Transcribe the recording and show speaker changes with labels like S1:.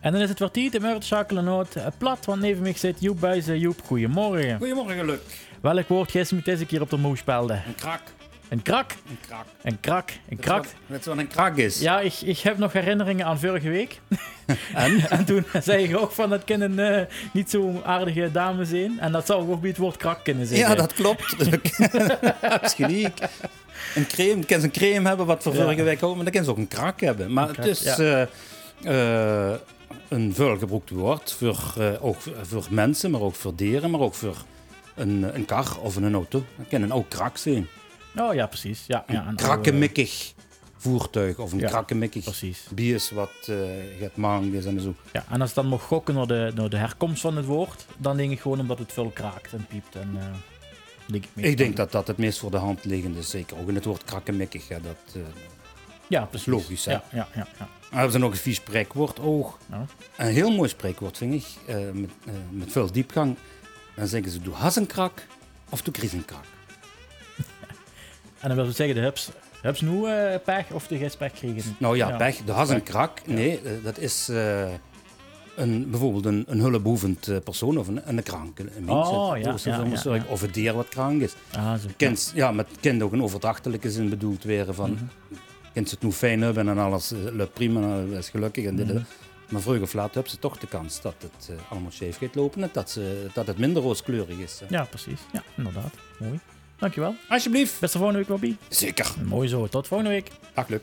S1: En dan is het kwartier te Meurt, Noot eh, plat, want neven mij zit Joep Buizen. Joep, goedemorgen.
S2: Goedemorgen, Luc.
S1: Welk woord gisteren moet deze keer op de moe spelde?
S2: Een krak.
S1: Een krak,
S2: Een krak.
S1: een krak, een krak.
S2: Dat is wat- Dat is wat een krak is.
S1: Ja, ik, ik heb nog herinneringen aan vorige week. En, toen zei ik ook van dat kunnen eh, niet zo aardige dames zijn. En dat zou ook bij het woord krak kunnen zijn.
S2: Ja, dat klopt. Luc. dat is gelijk. Een crème. Kan ze een crème hebben wat voor
S1: Ja.
S2: vorige week ook, maar dan kan ze ook een krak hebben. Maar
S1: krak,
S2: het is eh, eh, een vuilgebroekt woord voor, eh, ook voor mensen, maar ook voor dieren, maar ook voor een, een kar of een auto. Dat kan een ook krak zijn.
S1: Oh ja, precies. Ja, ja,
S2: Een
S1: oude-
S2: krakkemikkig voertuig of een
S1: Ja,
S2: krakkemikkig
S1: Precies.
S2: bies wat eh gaat mangen is en zo.
S1: Ja, en als ik dan mocht gokken naar de, naar de herkomst van het woord, dan denk ik gewoon omdat het veel kraakt en piept. En, eh, denk ik, meestal-
S2: Ik denk dat dat het meest voor de hand liggende is. Zeker ook in het woord krakkemikkig. Hè, dat, eh
S1: ja, precies.
S2: logisch, hè?
S1: Ja, ja, ja, ja.
S2: we hebben ze nog een vies spreekwoord ook.
S1: Nou.
S2: Een heel mooi spreekwoord, vind ik. eh, met, eh, met veel diepgang. Dan zeggen ze, doe has een krak of doe kries een krak.
S1: En dan wil ik zeggen, de hups, hups nu eh, pech of de gis pech kregen.
S2: Nou ja,
S1: Ja.
S2: pech. De has een krak. Nee, eh, dat is eh, een, bijvoorbeeld een, een hulpbehoevend eh, persoon of een, een krank. Een mens,
S1: Oh,
S2: eh,
S1: ja,
S2: zo-
S1: ja,
S2: zo-
S1: ja,
S2: zo-
S1: ja.
S2: Of een dier wat krank is.
S1: Ah, zo.
S2: Kind, ja, met kind ook een overdrachtelijke zin bedoeld weer. Van, Kind ze het nu fijn hebben en alles eh, loopt prima en alles is gelukkig. En dit, en dat. Maar vroeg of laat hebben ze toch de kans dat het eh, allemaal scheef gaat lopen en dat, ze, dat het minder rooskleurig is. hè.
S1: Ja, precies. Ja, inderdaad. Mooi. Dankjewel.
S2: Alsjeblieft.
S1: Beste volgende week, Robbie.
S2: Zeker.
S1: Mooi zo. Tot volgende week.
S2: Dag, Luc.